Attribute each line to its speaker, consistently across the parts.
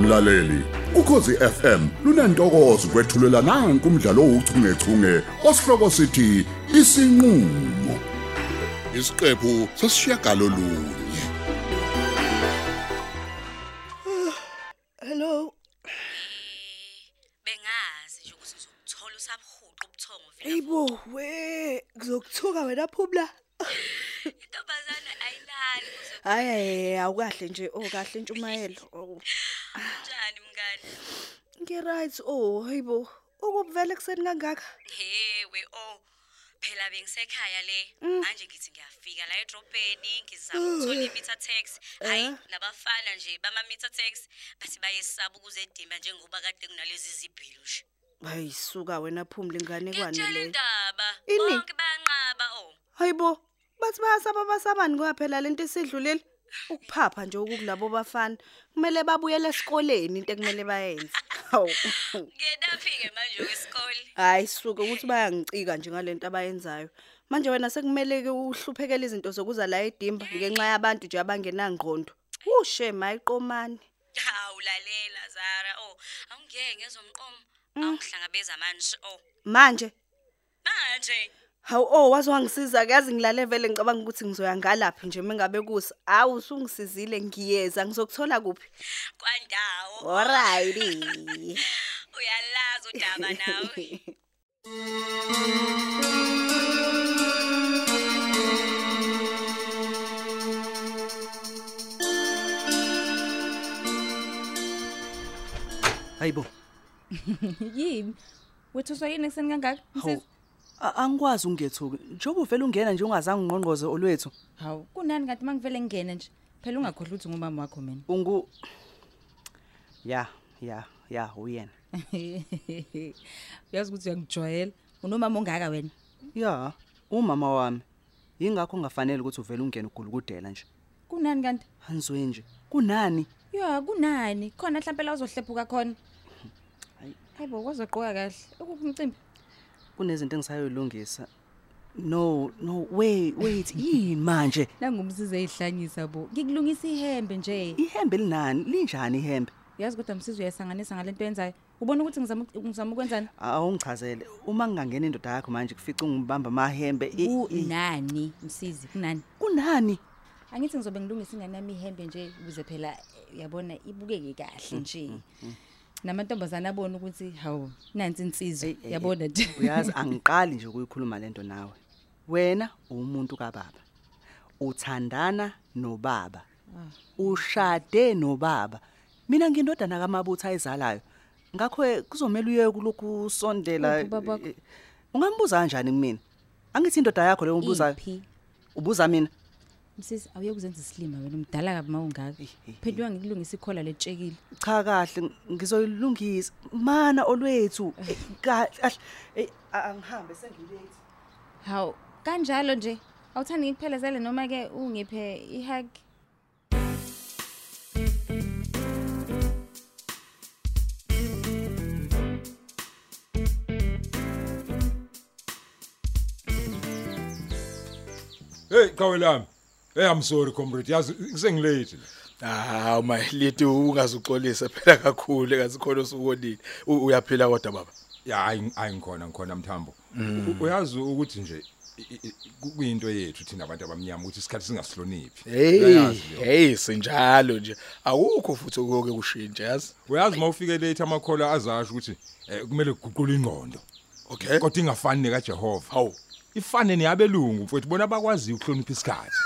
Speaker 1: mlaleli ukhosi FM lunantokozo kwethulela nanku umdlalo ouchungechunge osihloko sithi isinqulo isiqephu sesishiyagalo lunye
Speaker 2: Hello.
Speaker 3: bengazi nje ukuthi uzokuthola usabhuqa ubuthongo vele
Speaker 2: Ayibo we ngizokuthuka wena phumla.
Speaker 3: intombazane ayilali kuze
Speaker 2: Hayi awukahle nje okahle ntshumayelo. Oh.
Speaker 3: kunjani mngani
Speaker 2: Ngi right oh hayibo. Ukubuvela ekseni kangaka.
Speaker 3: hewe oh phela bengisekhaya le manje ngithi ngiyafika la edrobheni ngizama ukuthola i-meter taxi hayi nabafana nje bama-meter taxi bathi bayesaba ukuzedimba njengoba kade kunalezi zibhilo nje
Speaker 2: Hayi suka wena phumla ingane kwane
Speaker 3: ngiyakutshela
Speaker 2: le.
Speaker 3: indaba
Speaker 2: Ini?
Speaker 3: bonke bayanqaba oh
Speaker 2: Hayibo. Bathi bayasaba basabani kwaphela lento esidlulile. Ukuphapha nje ukukulabo bafana. Kumele babuyele esikoleni into ekumele bayenze. Hawu.
Speaker 3: ngenaphi-ke manje kwesikole
Speaker 2: Hayi suka ukuthi bayangicika nje ngalento abayenzayo. Manje wena sekumele ke uhluphekele izinto zokuza la edimba ngenxa yabantu nje abangenangqondo. Ushe mayiqomani.
Speaker 3: hawu lalela zara oh awungeke ngezomqomo awungihlangabeza manje oh
Speaker 2: Manje
Speaker 3: manje
Speaker 2: hawu oh wazongisiza akazi ngilale vele ngicabanga ukuthi ngizoya ngalaphi nje mengabe kusa. Awu usungisizile ngiyeza ngizokuthola kuphi?
Speaker 3: kwandawo
Speaker 2: Alrighty.
Speaker 3: uyalazi udaba nawe
Speaker 4: hayibo
Speaker 5: yini wethuswa yini ekuseni kangaka
Speaker 4: hawu a- angikwazi ukungethuki njengoba uvele ungena nje ungazange ungqongqoze olwethu
Speaker 5: hawu kunani kanti uma ngivele ngingena nje phela ungakhohlwa ukuthi ngumama wakho mina
Speaker 4: ungu ya ya ya uyena
Speaker 5: uyazi ukuthi uyangijwayela unomama ongaka wena
Speaker 4: ya umama wami yingakho ungafanele ukuthi uvele ungene ugulukudela nje
Speaker 5: kunani kanti
Speaker 4: anizwe nje kunani
Speaker 5: ya kunani khona mhlawumpe la uzohlephuka khona hayibo kwazogqoka kahle ukuphi umcimbi
Speaker 4: kunezinto engisayolungisa no no wait wait yini manje
Speaker 5: nangumsize eyihlanyisa bo ngikulungisa ihembe nje
Speaker 4: ihembe linani linjani ihembe
Speaker 5: uyazi kodwa msize uyayisanganisa ngale nto yenzayo ubona ukuthi ngizama uku- ngizama ukwenzani
Speaker 4: awungichazele uma ngingangena indoda yakho manje kufica ungibamba amahembe i- i-
Speaker 5: kunani msizi kunani
Speaker 4: kunani
Speaker 5: angithi ngizobe ngilungisa ingane yami ihembe nje ukuze phela eh, yabona ibukeke kahle
Speaker 4: Mm,
Speaker 5: nje namantombazana abone ukuthi hawu nansi insizwa
Speaker 4: Eh, eh,
Speaker 5: yabona nje
Speaker 4: uyazi angiqali nje ukuyikhuluma lento nawe wena umuntu kababa uthandana nobaba
Speaker 5: Ah.
Speaker 4: ushade nobaba mina ngindodana kamabutho ayizalayo ngakho ke kuzomela uye kulokhu sondela
Speaker 5: Uphi ubaba wakho?
Speaker 4: ungambuza kanjani kumina angithi indoda yakho leyo umbuzayo
Speaker 5: Iphi?
Speaker 4: ubuza mina
Speaker 5: msisi awuye kuzenza isilima wena umdala kabi ma ungaka
Speaker 4: Eh,
Speaker 5: phela uyangikulungisa ikhola letshekile
Speaker 4: cha kahle ngizoyilungisa mana olwethu Eh, kahle Eh, a- angihambe sengilate
Speaker 5: hawu kanjalo nje awuthandi ngikuphelezele noma-ke ungiphe ihag
Speaker 6: Hey qawe lami. Hey I'm sorry comrade. Yazi ngisengilate.
Speaker 7: Hawu Ah, my little ungazuxolisa phela kakhulu ngathi khona usukonile. U- Uyaphila kodwa baba.
Speaker 6: Ya hayi hayi ngikhona ngikhona mthambo. U- Uyazi ukuthi nje i- i- ku- kuyinto yethu thina abantu abamnyama ukuthi isikhathi singasiloniphi.
Speaker 7: Hey,
Speaker 6: Uyayazi leyo.
Speaker 7: hey sinjalo nje. Awukho futhi okuyoke kushintshe yazi.
Speaker 6: Uyazi mawufike late amakhola azasho ukuthi eh, kumele kuguqule ingqondo.
Speaker 7: Okay.
Speaker 6: Kodwa ingafani neka Jehova.
Speaker 7: Hawu.
Speaker 6: Ifane neyabelungu mfowethu bona abakwazi ukuhlonipha isikhathi.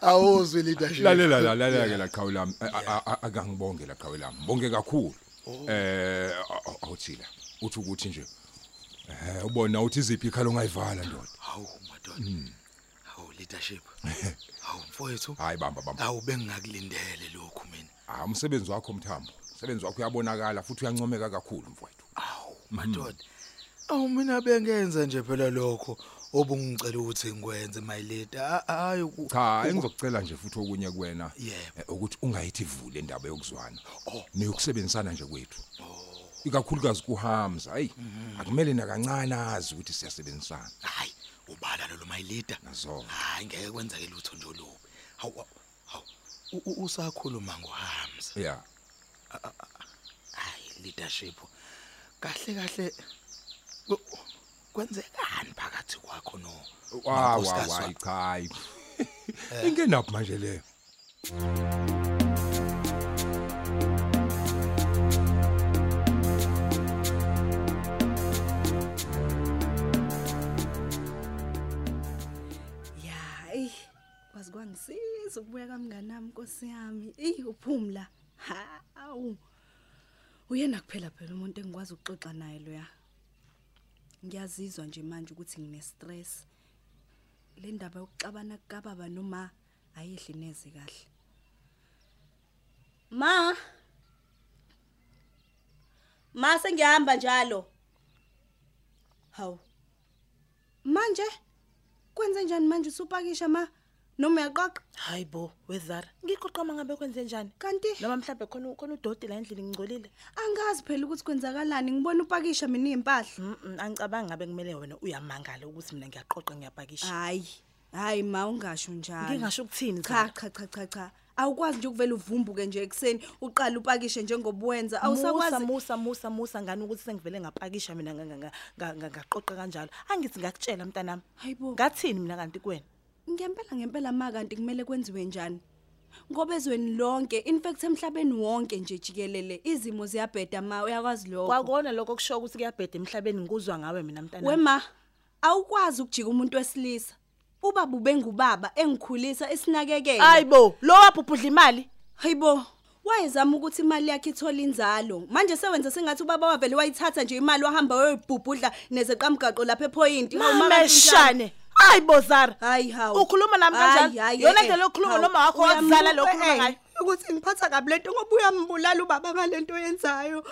Speaker 7: Awuzwi leadership.
Speaker 6: lalela la lalela ke la qhawe lami A- a- a- akangibonge la qhawe lami bonke kakhulu eh aw- awuthila uthi ukuthi nje eh ubona uthi iziphi ikhala ongayivala ndoda
Speaker 7: Hawu madoda. Hawu leadership. Hmm. Hawu mfowethu.
Speaker 6: hayi bamba bamba
Speaker 7: Hawu bengingakulindele lokhu mina.
Speaker 6: ah umsebenzi wakho mthambo umsebenzi wakho uyabonakala futhi uyancomeka kakhulu mfowethu
Speaker 7: Hawu madoda. Awu mina bengenza nje phela lokho obungicela ukuthi ngikwenze my leader. Hayi
Speaker 6: cha engizokucela nje futhi okunye kuwena
Speaker 7: Yebo.
Speaker 6: eh, ukuthi ungayithi vule indaba yokuzwana neyokusebenzisana nje kwethu ikakhulukazi kuhamza hey akumele nakancane azi ukuthi siyasebenzisana
Speaker 7: hayi ubala lolo my leader Ah.
Speaker 6: Ngazona.
Speaker 7: hayi ngeke kwenzeke lutho nje olubi hawu hawu u- u- usakhuluma ngohamza
Speaker 6: yeah
Speaker 7: hayi leadership kahle kahle ku- kwenzekani phakathi kwakho no
Speaker 6: wa wa
Speaker 7: nonkosikazi
Speaker 6: wa
Speaker 7: wakho?
Speaker 6: cha hayi
Speaker 7: Eh.
Speaker 6: ingenaphi manje leyo
Speaker 2: ya eyi wazi kwangisiza ukubuya kamnganami nkosi yami eyi uphumla hawu uyena kuphela phela umuntu engikwazi ukuxoxa naye loya ngiyazizwa nje manje ukuthi ngine-stress le ndaba yokuxabana kukababa noma ayidli neze kahle ma ma sengiyahamba njalo hawu manje kwenze njani manje usupakisha ma noma uyaqoqa
Speaker 8: hayi bo wezara ngiqoqama ngabe kwenze njani
Speaker 2: kanti
Speaker 8: noma mhlawumbe khona khona udoti la endlini ngingcolile
Speaker 2: angazi phela ukuthi kwenzakalani ngibona upakisha mina iy'mpahla
Speaker 8: Mm-mm, angicabangi ngabe kumele wena uyamangala ukuthi mina ngiyaqoqa ngiyapakisha
Speaker 2: hayi hayi ma ungasho njalo
Speaker 8: Ngingasho ukuthini,
Speaker 2: cha
Speaker 8: Zara?
Speaker 2: cha cha cha cha awukwazi nje ukuvela uvumbuke nje ekuseni uqale upakishe njengoba wenza awusakwazi
Speaker 8: musa musa musa ngani ukuthi sengivele ngapakisha mina nga- nga- nga- nga- nga- ngaqoqa kanjalo angithi ngakutshela mntanami
Speaker 2: Hayi bo.
Speaker 8: ngathini mina kanti kuwena
Speaker 2: ngempela ngempela ma kanti kumele kwenziwe njani ngoba ezweni lonke in fact emhlabeni wonke nje jikelele izimo ziyabheda ma uyakwazi lokho
Speaker 8: kwakona lokho kusho ukuthi kuyabheda emhlabeni ngikuzwa ngawe mina mntanami
Speaker 2: wema awukwazi ukujika umuntu wesilisa ubaba ubengubaba engikhulisa esinakekela
Speaker 8: hayi bo lo wabhubhudla imali
Speaker 2: hayibo wayezama ukuthi imali yakhe ithole inzalo manje sewenza sengathi ubaba wavele wayithatha nje imali wahamba wayoyibhubhudla nezeqamgaqo lapha epoyinti
Speaker 8: Ah, mameshane hayi bo zara
Speaker 2: hayi hawu eh,
Speaker 8: ukhuluma nami kanjani yona ndlela yokhuluma noma wakho wakuzala lo okhuluma ngayo
Speaker 2: ukuthi ngiphatha kabi lento ngoba uyambulala ubaba ngalento oyenzayo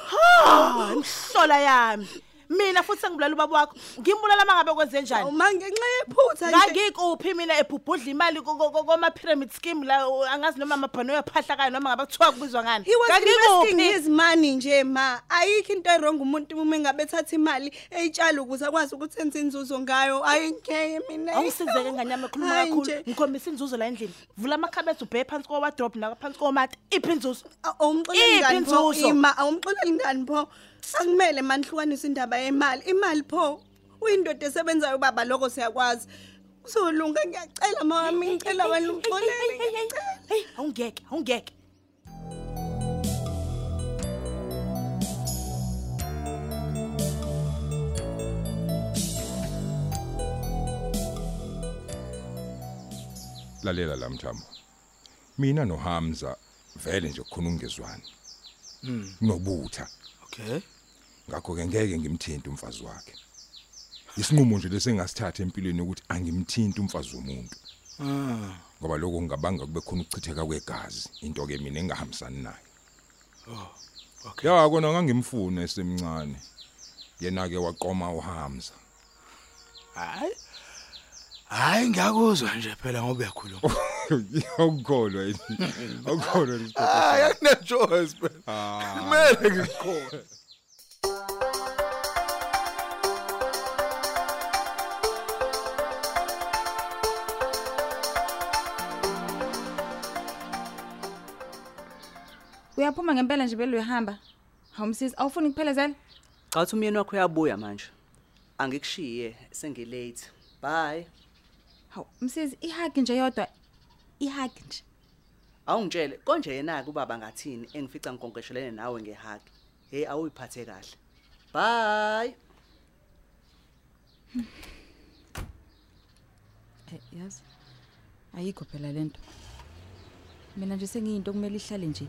Speaker 8: hlola yami mina futhi sengibulala ubaba wakho ngimbulala uma ngabe kwenze njani
Speaker 2: ma ngenxa yephutha nje
Speaker 8: ngangikuphi mina ebhubhudla imali ko- ko- ko- kwama-pyramid scheme la u- angazi noma amabhanoyo aphahlakayo noma ngabe kuthiwa kubizwa ngani
Speaker 2: he was investing
Speaker 8: ngangikuphi
Speaker 2: his money nje ma ayikho into erong umuntu uma engabe ethatha imali eyitshala ukuze akwazi ukuthi enze inzuzo ngayo ayingeke mina
Speaker 8: awusizeke nganyama ekhuluma
Speaker 2: Hayi
Speaker 8: kakhulu
Speaker 2: nje.
Speaker 8: ngikhombisa inzuzo la endlini vula amakhabethi ubheke phansi kowadrop naphansi komata iphi inzuzo
Speaker 2: A- awumxoleli
Speaker 8: Iphi
Speaker 2: ngani pho
Speaker 8: inzuzo?
Speaker 2: ima awumxoleli ngani pho akumele manihlukanise indaba yemali imali pho uyindoda esebenzayo ubaba lokho siyakwazi kuzolunga ngiyacela mawami ngicela wena umxolele ngiyacela
Speaker 8: heyi awungeke awungeke
Speaker 6: lalela la mthambo mina nohamza vele nje kukhona ungezwani
Speaker 7: Hmm.
Speaker 6: nobutha
Speaker 7: okay
Speaker 6: ngakho ke ngeke ngimthinte umfazi wakhe isinqumo nje lesengasithatha empilweni ukuthi angimthinte umfazi womuntu
Speaker 7: ah
Speaker 6: ngoba lokho kungabanga kube khona ukuchitheka kwegazi into ke mina engahambisani nayo
Speaker 7: Oh, okay
Speaker 6: ya kona ngangimfuna esemncane yena ke waqoma uhamza
Speaker 7: hayi hayi ngiyakuzwa nje phela ngoba uyakhuluma
Speaker 6: awukholwa yini awukholwa yini isiphepho
Speaker 7: hayi akune choice phela
Speaker 6: Ah.
Speaker 7: kumele ngikhona
Speaker 5: uyaphuma ngempela nje belo uyahamba hawumsisi awufuni kuphelezela
Speaker 4: Cha uthi umyeni wakho uyabuya manje. Angikushiye sengilate. Bye.
Speaker 5: hawu msisi ihagi nje yodwa ihagi nje
Speaker 4: Awungitshele konje yena ke ubaba ngathini engifica ngikonkeshelene nawe ngehug. Hey awuyiphathe kahle. Bye.
Speaker 5: Eh, yazi ayikho phela lento mina nje sengiyinto okumele ihlale nje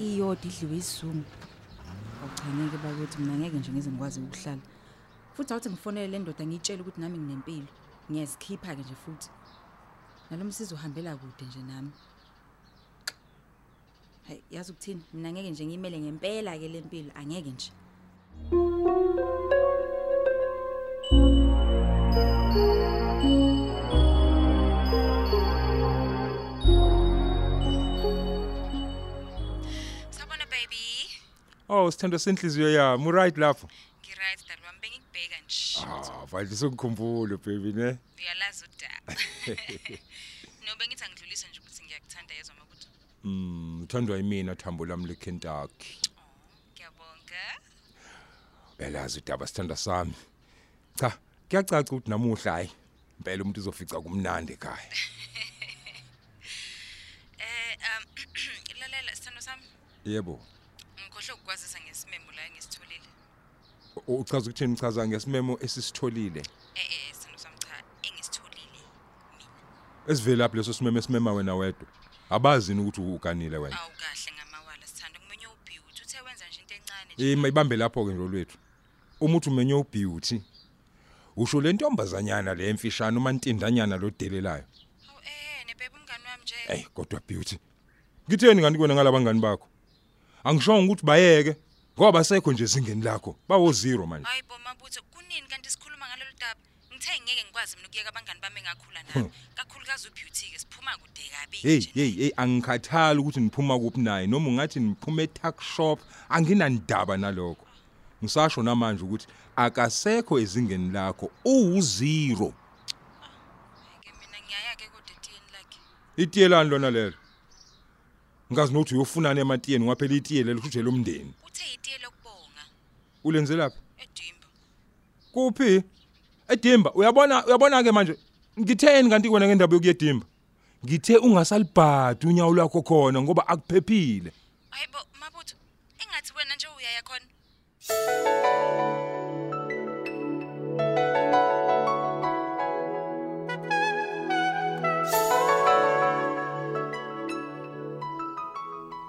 Speaker 5: iyodwa idliwe isizungu awuchaneke bakuthi mina ngeke nje ngize ngikwazi ukuhlala futhi awuthi ngifonele le ndoda ngiyitshele ukuthi nami nginempilo ngiyazikhipha-ke nje futhi nalo msizi uhambela kude nje nami hayi yazi ukuthini mina ngeke nje ngiyimele ngempela-ke le mpilo angeke nje
Speaker 3: sabona baby
Speaker 6: oh sithando senhliziyo yami uright lapho
Speaker 3: ngiright dali wami bengikubheka nje
Speaker 6: ah manje sokukhumbula baby ne
Speaker 3: uyalazi udaba nobe ngithi angidlulise nje ukuthi ngiyakuthanda yezwa mabuthi
Speaker 6: Mm, uthandwa yimina thambo lami leKentucky.
Speaker 3: Ngiyabonga.
Speaker 6: Elazi udaba sithanda sami. Cha, kuyacaca ukuthi namuhla hayi impela umuntu uzofica kumnandi ekhaya.
Speaker 3: Eh um lalela sithando sami.
Speaker 6: Yebo.
Speaker 3: Ngikhohle ukukwazisa ngesimemo la engisitholile.
Speaker 6: U- Uchaza ukuthi nichaza ngesimemo esisitholile.
Speaker 3: Eh eh sithando sami cha engisitholile.
Speaker 6: Esivela lapho leso simemo esimema wena wedwa. Abazi ni ukuthi uganile wena.
Speaker 3: Awu kahle ngamawala sithando kumenye ubhiwu uthi uthe wenza nje into encane nje.
Speaker 6: Eh mayibambe lapho ke njolwethu. Umuthi umenye ubeauty. Usho le ntombazanyana le emfishane uma ntindanyana lo delelayo.
Speaker 3: Hawu eh nebebe umngani wami nje.
Speaker 6: Ey kodwa beauty. Ngitheni kanti kuwena ngalabangani bakho? Angishongo ukuthi bayeke ngoba sekho nje zingeni lakho. Bawo zero manje.
Speaker 3: Hayi bo mabutho kunini kanti sikhuluma ngalolu daba. Ngithe ngeke ngikwazi mina ukuyeka abangani bami engakhula nabo. Kakhulukazi ubeauty ke siphuma kude kabi
Speaker 6: Hmm. Hey
Speaker 3: nje.
Speaker 6: hey hey angikhathali ukuthi niphuma kuphi naye noma ungathi niphuma e-tuck shop anginandaba nalokho. Ngisasho namanje ukuthi akasekho ezingeni lakho u0.
Speaker 3: Ke mina ngiyaya ke kodwa etiyeni lakhe.
Speaker 6: Itiyelani lona lelo. Ngazi nokuthi uyofunana ematiyeni ngaphela itiyele likuthi lomndeni.
Speaker 3: Uthe itiye lokubonga
Speaker 6: Ulenzelaphi?
Speaker 3: edimba.
Speaker 6: Kuphi? Edimba, uyabona uyabona ke manje ngitheni kanti kwena ngendaba yokuyedimba. Ngithe ungasalibhadi unyawo lwakho khona ngoba akuphephile.
Speaker 3: Hayi bo mabutho engathi wena nje uyaya khona.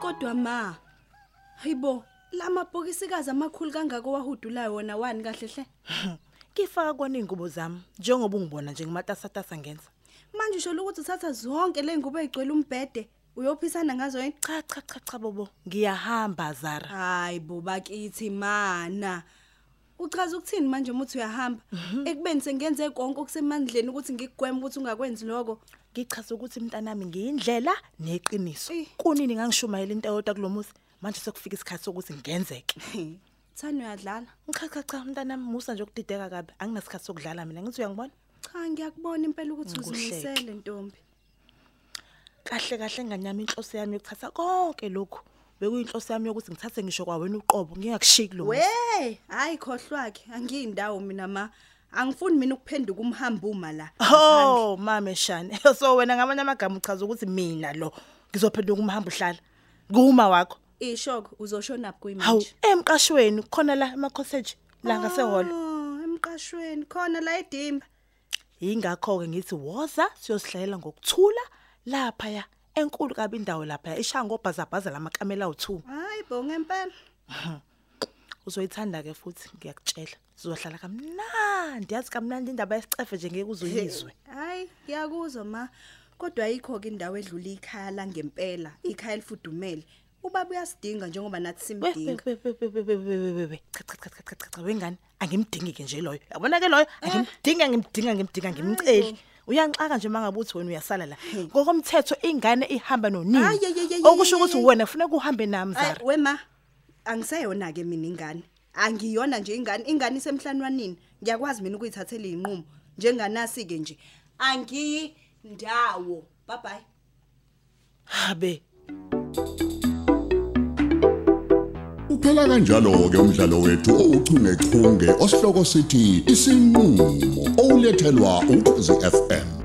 Speaker 2: Kodwa ma. Hayibo, lamabhokisikazi amakhulu kangaka wahudulayo wona wani kahle hle.
Speaker 8: Ngifaka kona iy'ngubo zami njengoba ungibona nje ngimatasatasa ngenza.
Speaker 2: Manje usho ukuthi uthatha zonke le ngubo ezigcwele umbhede uyophisana ngazo yini?
Speaker 8: Cha cha cha cha bobo ngiyahamba Zara.
Speaker 2: Hayi bo bakithi mana. Uchaza ukuthini manje umuthi uyahamba? Ekubeni sengenze konke okusemandleni ukuthi ngikugweme ukuthi ungakwenzi lokho.
Speaker 8: Ngichaza ukuthi mntanami ngiyindlela neqiniso.
Speaker 2: Eh.
Speaker 8: Kunini ngangishumayela into eyodwa kulomuzi manje sekufika isikhathi sokuthi ngenzeke.
Speaker 2: Thani uyadlala?
Speaker 8: Cha cha cha mntanami musa nje ukudideka kabi anginasikhathi sokudlala mina ngithi uyangibona?
Speaker 2: Cha ngiyakubona impela ukuthi
Speaker 8: Ngikuhleke.
Speaker 2: uzimisele ntombi.
Speaker 8: kahle kahle nganyama inhloso yami yokuthatha konke lokhu bekuyinhloso yami yokuthi ngithathe ngisho kwawena uqobo ngingakushiki lo muzi.
Speaker 2: Wey, hayi khohlwakhe, angiyindawo mina ma. Angifuni mina ukuphenduka umhamba uma la.
Speaker 8: oh mame shane so wena ngamanye amagama uchaza ukuthi mina lo ngizophenduka umhamba uhlala kuma wakho
Speaker 2: Ishoko uzoshona
Speaker 8: hawu
Speaker 2: kuyimanje.
Speaker 8: emqashweni khona la emacossage la ngasehholo
Speaker 2: Oh, emqashweni khona la edimba.
Speaker 8: yingakho-ke ngithi woza siyosihlalela ngokuthula laphaya enkulu kabi indawo laphaya ishaya ngobhazabhaza lamakamela awu-two
Speaker 2: Hayi bo ngempela.
Speaker 8: uzoyithanda-ke futhi ngiyakutshela sizohlala kamnandi yazi kamnandi indaba yesicefe nje ngeke uzoyizwe
Speaker 2: Hayi, ngiyakuzwa ma. Kodwa ayikho ke indawo edlula ikhaya la ngempela, ikhaya elifudumele. Ubaba uyasidinga njengoba nathi
Speaker 8: We- we-
Speaker 2: simdinga.
Speaker 8: we- we- we- we- we- we- we- we- we. cha cha cha cha cha cha cha wengane angimdingi-ke nje loyo yabona-ke loyo angimdingi angimdingi angimdingi angimceli uyangixaka nje uma ngabe uthi wena uyasala la ngokomthetho ingane ihamba
Speaker 2: Ay, ay, ay, ay,
Speaker 8: nonini okusho
Speaker 2: ay, ay,
Speaker 8: ukuthi
Speaker 2: ay.
Speaker 8: wena funeka uhambe nami
Speaker 2: Hayi,
Speaker 8: zara
Speaker 2: wema. Angiseyona ke mina ingane. Angiyona nje ingane, ingane isemhlanwanini. Ngiyakwazi mina ukuyithathela izinqumo njenganasi ke nje. Angiyindawo. Bye bye.
Speaker 8: habe
Speaker 1: Uphela kanjalo ke umdlalo wethu ouchungechunge osihloko sithi isinqulo olethelwa ukhozi FM.